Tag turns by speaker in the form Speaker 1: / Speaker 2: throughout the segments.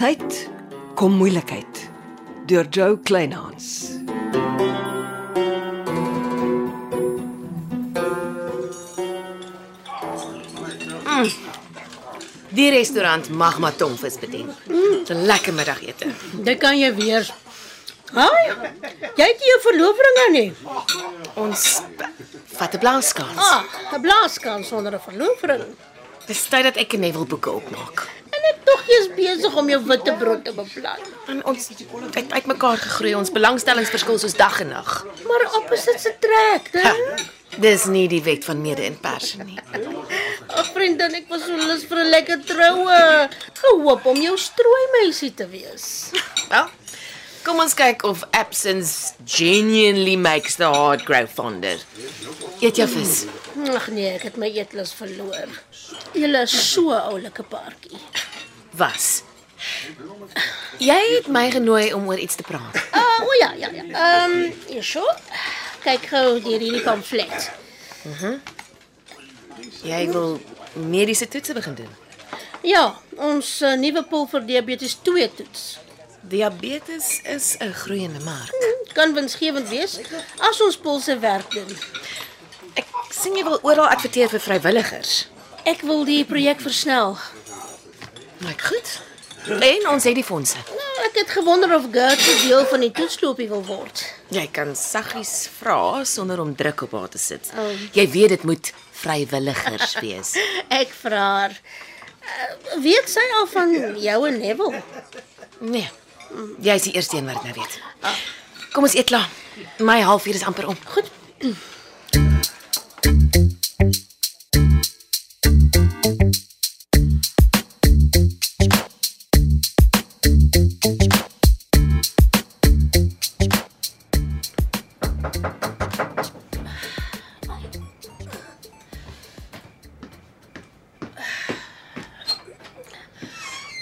Speaker 1: tyd kom moeilikheid deur Joe Kleinhans.
Speaker 2: Mm. Die restaurant mag maar tongvis bedien. Dis 'n lekker middagete.
Speaker 3: Dit kan jy weer. Haai. Jy het nie jou verloofringe nie.
Speaker 2: Ons vat 'n blaaskans.
Speaker 3: Ah, 'n blaaskans sonder 'n verloofring.
Speaker 2: Dis tyd dat ek en Neville boeke opmaak.
Speaker 3: En ek tog jy's besig om jou witbrood te beplan.
Speaker 2: En ons het uitmekaar gegroei. Ons belangstellings verskil soos dag en nag.
Speaker 3: Maar opposite se trek,
Speaker 2: Ja,
Speaker 3: hè?
Speaker 2: dis nie die wet van mede en perse nie.
Speaker 3: Ag vriendin, ek was so lus vir 'n lekker troue. Gehoop om jou strooi meisie te wees.
Speaker 2: Wel, kom ons kyk of absence genuinely makes the heart grow fonder. Eet jou vis.
Speaker 3: Ag nee, ek het my eetlus verloor. Julle is so 'n oulike paartjie.
Speaker 2: Was. Jy het my genooi om oor iets te praat.
Speaker 3: Ah, uh, o ja, ja, ja. Ehm, um, hier so. Kyk gou hier hierdie pamflet.
Speaker 2: Jy wil mediese toetse begin doen.
Speaker 3: Ja, ons uh, nuwe pil vir diabetes 2 toets.
Speaker 2: Diabetes is 'n groeiende mark.
Speaker 3: Kan winsgewend wees as ons pil se werk doen.
Speaker 2: Ek sien jy wil oral adverteer vir vrywilligers.
Speaker 3: Ek wil die projek versnel.
Speaker 2: Lyk goed. En ons het die fondse.
Speaker 3: Nou, ek het gewonder of Gertrude deel van die toetsloopie wil word.
Speaker 2: Jy kan saggies vra sonder om druk op haar te sit.
Speaker 3: Oh.
Speaker 2: Jy weet dit moet vrywilligers wees.
Speaker 3: Ek vra haar uh, weet sy al van jou en Neville?
Speaker 2: Nee. Jy is die eerste een wat dit nou weet. Kom ons eet klaar. My halfuur is amper om. Goed.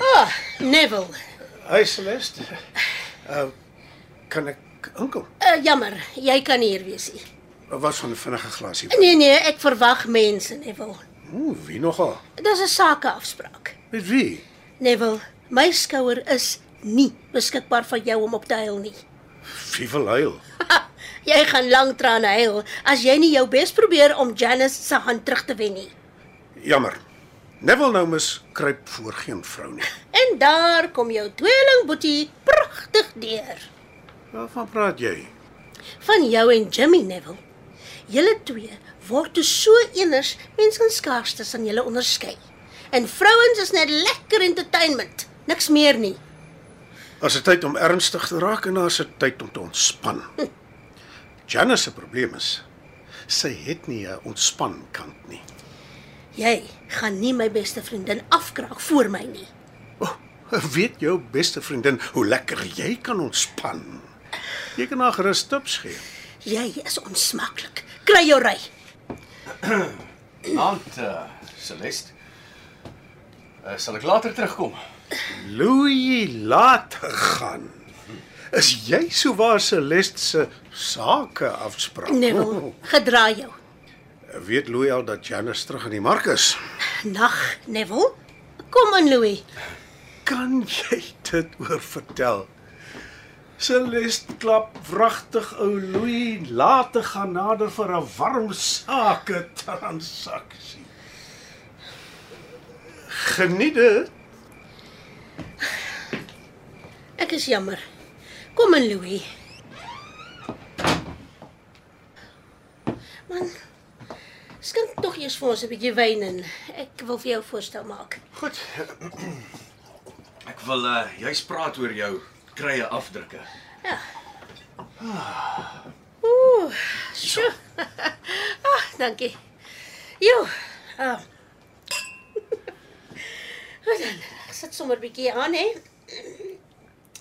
Speaker 3: Ah, Neville.
Speaker 4: Hi Celeste. Uh kan ek inkom?
Speaker 3: Uh, jammer, jy kan nie hier wees nie.
Speaker 4: Wat van 'n vinnige glasie?
Speaker 3: Nee nee, ek verwag mense, Neville.
Speaker 4: Ooh, wie nogal?
Speaker 3: Dis 'n sakeafspraak.
Speaker 4: Met wie?
Speaker 3: Neville, my skouer is nie beskikbaar vir jou om op te huil nie.
Speaker 4: Wie wil huil?
Speaker 3: Ha, jy gaan lank trane huil as jy nie jou bes probeer om Janice se hand terug te wen nie.
Speaker 4: Jammer. Neville nou mis kruip voor geen vrou nie.
Speaker 3: En daar kom jou tweeling Boetie pragtig deur.
Speaker 4: Waarvan praat jy?
Speaker 3: Van jou en Jimmy Neville. Julle twee word toe so eners mens kan skaars tussen julle onderskei. En vrouens is net lekker entertainment, niks meer nie.
Speaker 4: As dit tyd om ernstig te raak en as dit tyd om te ontspan. Janice se probleem is sy het nie 'n ontspan kant nie.
Speaker 3: Jy gaan nie my beste vriendin afkraak voor my nie.
Speaker 4: Oh, weet jou beste vriendin hoe lekker jy kan ontspan. Jy kan haar gerus tips gee.
Speaker 3: Jy is onsmaklik. Kry jou ry.
Speaker 5: Aand, uh, Celeste. Uh, sal ek later terugkom?
Speaker 4: Louis laat gaan. Is jy sou waar Celeste se sake afspraak?
Speaker 3: Nee. Neville, gedra jou.
Speaker 4: Oh, weet Louis al dat Janice terug in die mark is?
Speaker 3: Nag, Neville. Kom in, Louis.
Speaker 4: Kan jy dit oor vertel? Celeste klap wragtig ou Louis laat te gaan nader vir 'n warm sake transaksie. Geniet dit.
Speaker 3: Ek is jammer. Kom in, Louis. Man, skink tog eers vir ons 'n bietjie wyn in. Ek wil vir jou 'n voorstel maak.
Speaker 5: Goed. Ek wil uh jy's praat oor jou krye afdrukke.
Speaker 3: Ooh, sjoe. Ah, dankie. Jo. Ah. Goed dan. Ek sit sommer 'n bietjie aan, hè.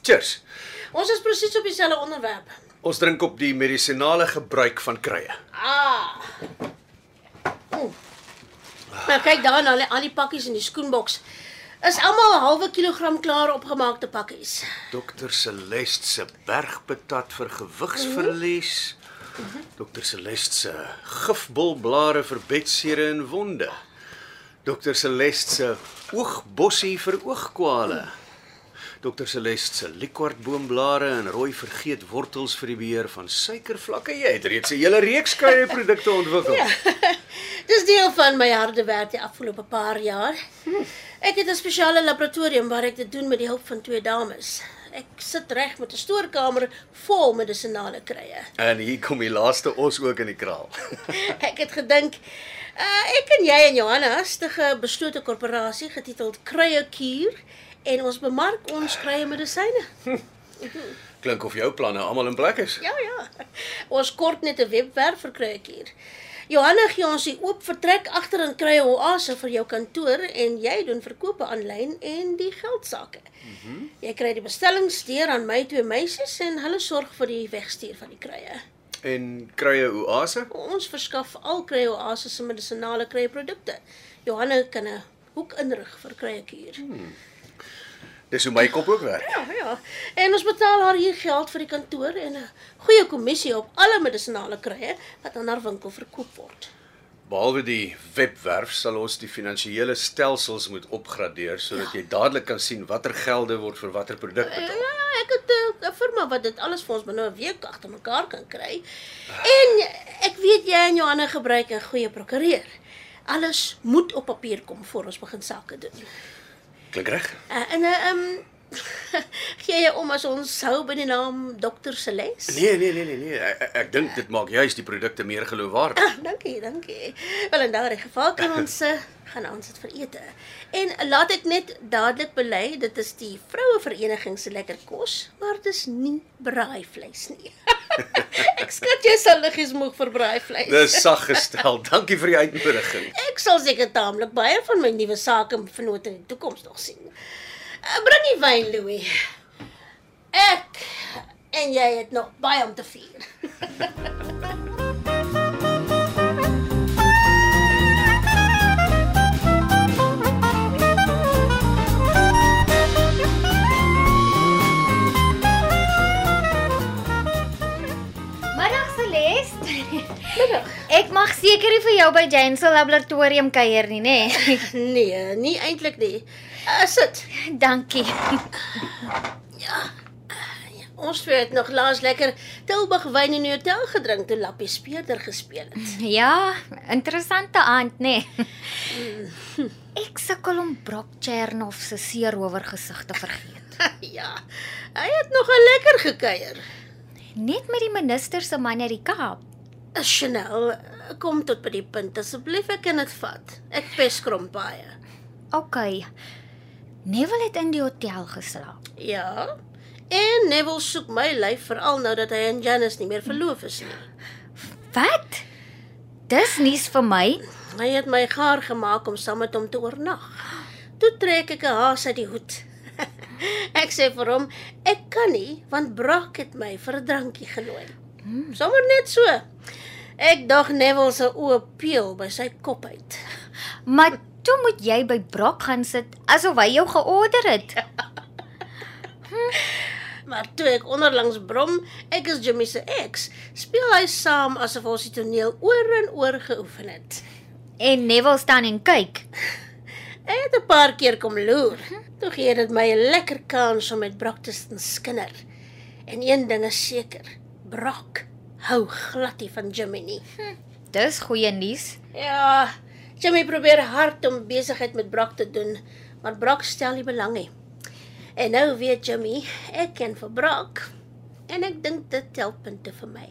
Speaker 5: Cheers.
Speaker 3: Ons is presies op dieselfde onderwerp.
Speaker 5: Ons drink op die medisinale gebruik van krye.
Speaker 3: Ah. Oeh. Maar kyk dan al die, al die pakkies in die skoenboks. Is almal 'n halwe kilogram klaar opgemaakte pakkies.
Speaker 5: Dokter Celeste se bergpatat vir gewigsverlies. Dokter Celeste se gifbolblare vir bedsere en wonde. Dokter Celeste se oogbossie vir oogkwale. Dr. Celeste se liquorboomblare en rooi vergeet wortels vir die beheer van suikervlakke. Jy het reeds 'n hele reeks kuierprodukte ontwikkel. Ja.
Speaker 3: Dis deel van my harde werk die afgelope paar jaar. Ek het 'n spesiale laboratorium waar ek dit doen met die hulp van twee dames. Ek sit reg met 'n stoorkamer vol medisinale kruie.
Speaker 5: En hier kom die laaste os ook in die kraal.
Speaker 3: Ek het gedink uh, ek en jy en Johanna stig 'n beslote korporasie getiteld Kruie Kuur en ons bemark ons kruie medisyne.
Speaker 5: Klink of jou planne almal in plek is.
Speaker 3: Ja ja. Ons kort net 'n webwerf vir kruiekuur. Johanna gee ons die oop vertrek agter in krye oase vir jou kantoor en jy doen verkope aanlyn en die geldsakke. Mm -hmm. Jy kry die bestellings deur aan my twee meisies en hulle sorg vir die wegstuur van die kruie.
Speaker 5: En kruie oase?
Speaker 3: Ons verskaf al krye oase se medisinale kruieprodukte. Johanna kan 'n hoek inrig vir kruiekuur.
Speaker 5: Dis hoe my kop ook werk.
Speaker 3: Ja, ja. En ons betaal haar hier geld vir die kantoor en 'n goeie kommissie op alle medisinale kruie wat aan haar winkel verkoop word.
Speaker 5: Behalwe die webwerf sal ons die finansiële stelsels moet opgradeer sodat jy dadelik kan sien watter gelde word vir watter produk
Speaker 3: Ja,
Speaker 5: betaal.
Speaker 3: ja, ek het 'n- 'n firma wat dit alles vir ons binne 'n week agter mekaar kan kry. En ek weet jy en Johanna gebruik 'n goeie prokureur. Alles moet op papier kom voor ons begin sake doen.
Speaker 5: Klink reg?
Speaker 3: Uh, en ehm um, gee jy om as ons hou by die naam Dr. Celeste?
Speaker 5: Nee, nee, nee, nee, nee. Ek, ek- ek dink dit maak juis die produkte meer geloofwaardig.
Speaker 3: Ah, dankie, dankie. Wel in daardie geval kan ons eh, gaan aansit vir ete. En laat ek net dadelik belei, dit is die vrouevereniging se lekker kos, maar dis nie braaivleis nie. ek skat jy sal liggies moeg vir braaivleis.
Speaker 5: Dis sag gestel. Dankie vir die uitnodiging.
Speaker 3: Ek sal seker taamlik baie van my nuwe sake vennote in die toekoms nog sien. Eh, Bring die wyn, Louis. Ek en jy het nog baie om te vier.
Speaker 6: Middag Celeste. Middag. Ek mag seker nie vir jou by Jane se laboratorium kuier nie, nê?
Speaker 3: Nee, nie eintlik nie. Uh, sit.
Speaker 6: Dankie.
Speaker 3: Ons twee het nog laas lekker Tilburg wyn in die hotel gedrink toe Lappie speerder gespeel het.
Speaker 6: Ja, interessante aand, nê? Ek sukkel om Brock Chernoff se seerower gesig te vergeet.
Speaker 3: ja. Hy het nogal lekker gekuier.
Speaker 6: Net met die minister se man uit die Kaap.
Speaker 3: Eh, Chanel, eh, kom tot by die punt asseblief, ek kan dit vat. Ek pes krom baie.
Speaker 6: OK. Neville het in die hotel geslaap.
Speaker 3: Ja. En Neville soek my lyf veral nou dat hy en Janice nie meer verloof is nie.
Speaker 6: Wat? Dis nuus vir my.
Speaker 3: Hy het my gaar gemaak om saam met hom te oornag. Toe trek ek 'n haas uit die hoed. ek sê vir hom, ek kan nie want Brak het my vir 'n drankie genooi. Sommer net so. Ek dog Neville se oë peel by sy kop uit.
Speaker 6: Maar toe moet jy by Brock gaan sit asof hy jou georder het.
Speaker 3: Maar toe ek onderlangs brom, ek is Jimmy se ex, speel hy saam asof ons die toneel oor en oor geoefen het.
Speaker 6: En Neville staan en kyk.
Speaker 3: Hy het 'n paar keer kom loer. Toe gee dit my 'n lekker kans om met Brock te sin skinder. En een ding is seker, Brock hou glad nie van Jimmy nie.
Speaker 6: Dis goeie nuus.
Speaker 3: Ja, Jimmy probeer hard om besigheid met Brock te doen, maar Brock stel nie belang nie. En nou weet Jimmy, ek ken vir Brock en ek dink dit tel punte vir my.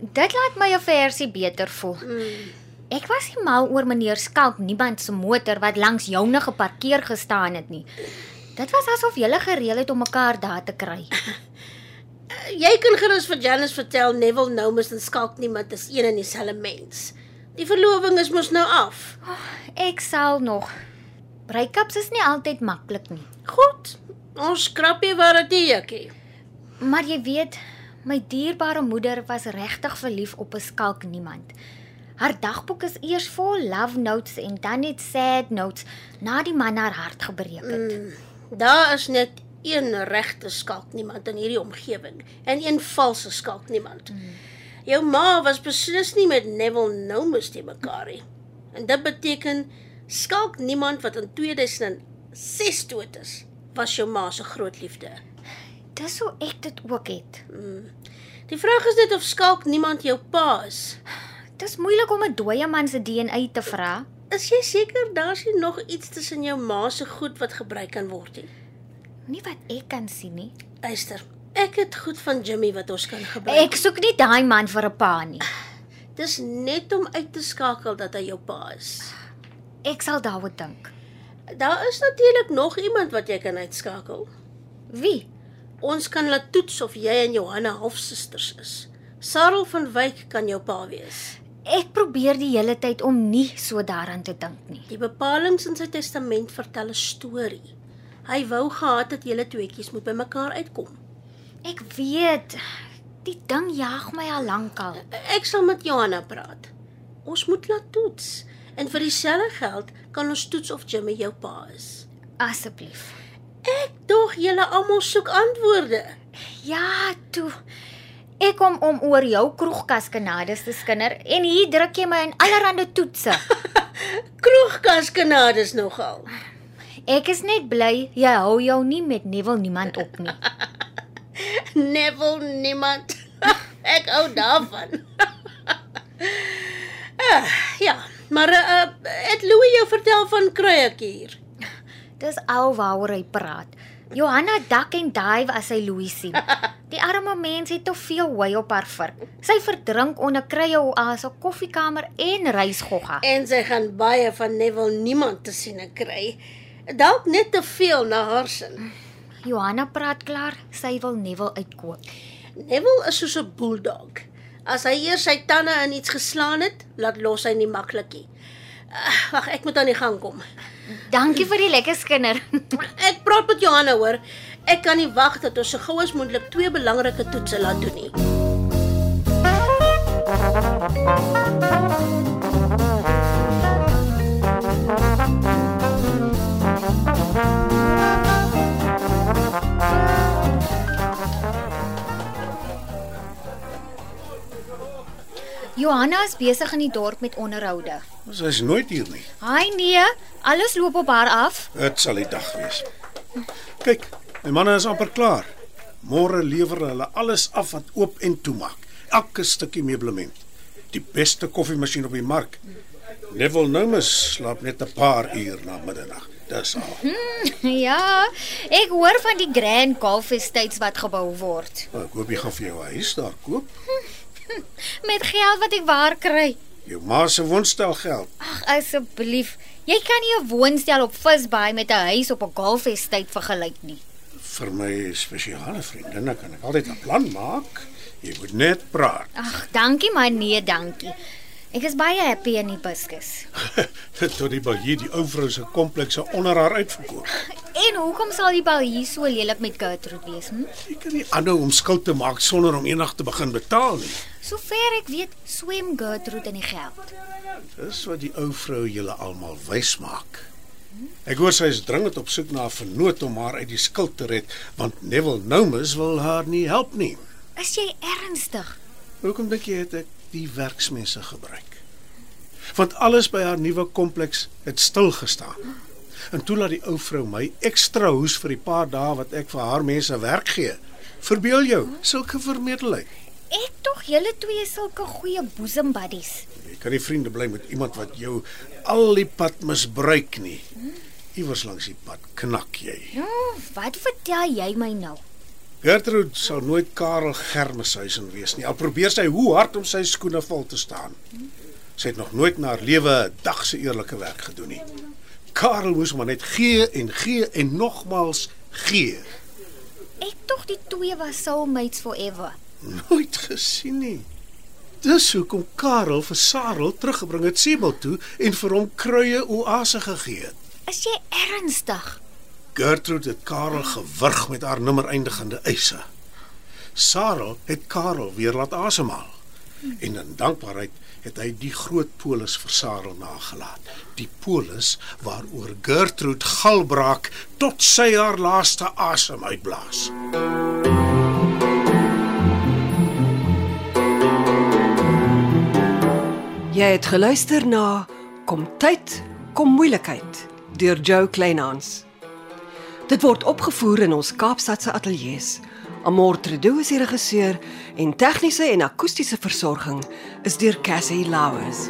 Speaker 6: Dit laat my 'n versie beter voel. Ek was nie mal oor meneer Skalk niemand se motor wat langs joune geparkeer gestaan het nie. Dit was asof julle gereël het om mekaar daar te kry.
Speaker 3: Jy kan gerus vir Janice vertel Neville nou mis en skalk nie, want dit is een en dieselfde mens. Die verloving is mos nou af.
Speaker 6: Ek sal nog. Breakups is nie altyd maklik nie.
Speaker 3: Goed. Ons krappie waar dit nie jekkie.
Speaker 6: Maar jy weet, my dierbare moeder was regtig verlief op 'n skalk niemand. Haar dagboek is eers vol love notes en dan net sad notes na die man haar hart gebreek het.
Speaker 3: Daar is net een regte skalk niemand in hierdie omgewing en een valse skalk niemand. Mm. Jou ma was beslis nie met Neville nou mis te mekaar nie. En dit beteken skalk niemand wat in 2006 dood is, was jou ma se groot liefde.
Speaker 6: Dis hoe ek dit ook het.
Speaker 3: Die vraag is net of skalk niemand jou pa is.
Speaker 6: Dis moeilik om 'n dooie man se DNA te vra.
Speaker 3: Is jy seker daar's nie nog iets tussen jou ma se goed wat gebruik kan word nie?
Speaker 6: Nie wat ek kan sien nie.
Speaker 3: Luister, ek het goed van Jimmy wat ons kan gebruik.
Speaker 6: Ek soek nie daai man vir 'n pa nie.
Speaker 3: Dis net om uit te skakel dat hy jou pa is.
Speaker 6: Ek sal daaroor dink.
Speaker 3: Daar is natuurlik nog iemand wat jy kan uitskakel.
Speaker 6: Wie?
Speaker 3: Ons kan laat toets of jy en Johanna halfsusters is. Sarel van Wyk kan jou pa wees.
Speaker 6: Ek probeer die hele tyd om nie so daaraan te dink nie.
Speaker 3: Die bepalinge in sy testament vertel 'n storie. Hy wou gehad het julle tweeetjies moet bymekaar uitkom.
Speaker 6: Ek weet die ding jaag my al lankal.
Speaker 3: Ek sal met Johanna praat. Ons moet laat toets en vir dieselfde geld kan ons toets of Jimmy jou pa is.
Speaker 6: Asseblief.
Speaker 3: Ek dog julle almal soek antwoorde.
Speaker 6: Ja, toe. Ek kom om oor jou kroegkaskanades te skinder en hier druk jy my in allerlei toetse.
Speaker 3: Kroegkaskanades nogal.
Speaker 6: Ek is net bly jy hou jou nie met Neville niemand op nie.
Speaker 3: Neville niemand. Ek hou daarvan. Ah, ja, maar uh, het Louis jou vertel van Kruiek hier?
Speaker 6: Dis al waaroor hy praat. Johanna duck en dive as hy Louis sien. Die arme mens het te veel hooi op haar vurk. Sy verdrink onder krye oase, koffiekamer en reisgogga.
Speaker 3: En sy gaan baie van Neville niemand te sien kry. Dalk net te veel na haar sin.
Speaker 6: Johanna praat klaar, sy wil Neville uitkoop.
Speaker 3: Neville is soos 'n bulldog. As hy eers sy tande in iets geslaan het, laat los hy nie maklikie. Uh, Wag, ek moet aan die gang kom.
Speaker 6: Dankie vir die lekker skinder.
Speaker 3: Ek praat met Johanna hoor. Ek kan nie wag dat ons so gou as moontlik twee belangrike toetse laat doen nie.
Speaker 6: Johanna is besig in die dorp met onderhoude.
Speaker 4: Ons is nooit hier nie.
Speaker 6: Haai nee, alles loop op haar af.
Speaker 4: Dit sal die dag wees. Kyk, my manne is amper klaar. Môre lewer hulle alles af wat oop en toe maak. Elke stukkie meublement. Die beste koffiemasjien op die mark. Neville Nomus slaap net 'n paar uur na middernag. Dis al.
Speaker 6: Ja, ek hoor van die Grand Golf Estates wat gebou word.
Speaker 4: Nou, Ek hoop jy gaan vir jou 'n huis daar koop.
Speaker 6: Met geld wat ek waar kry.
Speaker 4: Jou ma se woonstel geld.
Speaker 6: Ag asseblief, jy kan nie 'n woonstel op Visbaai met 'n huis op 'n golfestyd vergelyk nie.
Speaker 4: Vir my spesiale vriendinne kan ek altyd 'n plan maak. Jy moet net praat.
Speaker 6: Ag, dankie maar nee, dankie. Ek is baie happy in die buskus.
Speaker 4: Tot die baie die ou vrou se komplekse onder haar uitverkoop.
Speaker 6: En hoekom sal die bal hier so lelik met Gertrude wees? Hm?
Speaker 4: Jy kan nie aanhou om skuld te maak sonder om eendag te begin betaal nie.
Speaker 6: Sover ek weet, swem Gertrude in die geld.
Speaker 4: Dis wat die ou vrou julle almal wys maak. Ek hoor sy is dringend op soek na 'n vernoot om haar uit die skuld te red, want Neville Nomus wil haar nie help nie.
Speaker 6: Is jy ernstig?
Speaker 4: Hoekom dink jy het ek die werksmense gebruik? Want alles by haar nuwe kompleks het stil gestaan. En toe laat die ou vrou my ekstra hoes vir die paar dae wat ek vir haar mense werk gee. Verbeel jou, sulke vermetelheid.
Speaker 6: Ek tog julle twee is sulke goeie bosom buddies.
Speaker 4: Jy kan nie vriende bly met iemand wat jou al die pad misbruik nie. Iewers langs die pad knak jy.
Speaker 6: Ja, wat vertel jy my nou?
Speaker 4: Gertrude sal nooit Karel Germeshuisen wees nie. Al probeer sy hoe hard om sy skoene vol te staan. Sy het nog nooit na haar lewe 'n dag se eerlike werk gedoen nie. Karel moes maar net gee en gee en nogmals gee.
Speaker 6: Ek tog die twee was soulmates forever.
Speaker 4: Nooit gesien nie. Dis hoekom Karel vir Sarel teruggebring het Sebel toe en vir hom kruie oase gegee het.
Speaker 6: Is jy ernstig?
Speaker 4: Gertrude het Karel gewurg met haar nimmer eindigende eise. Sarah het Karel weer laat asemhaal. En in dankbaarheid het hy die groot polis vir Sarah nagelaat. Die polis waaroor Gertrude galbraak tot sy haar laaste asem uitblaas.
Speaker 1: Jy het geluister na Kom tyd, kom moeilikheid deur Jo Kleinhans. Dit word opgevoer in ons Kaapstadse ateljees. Amor Tredo is die regisseur en tegniese en akoestiese versorging is deur Cassie Louws.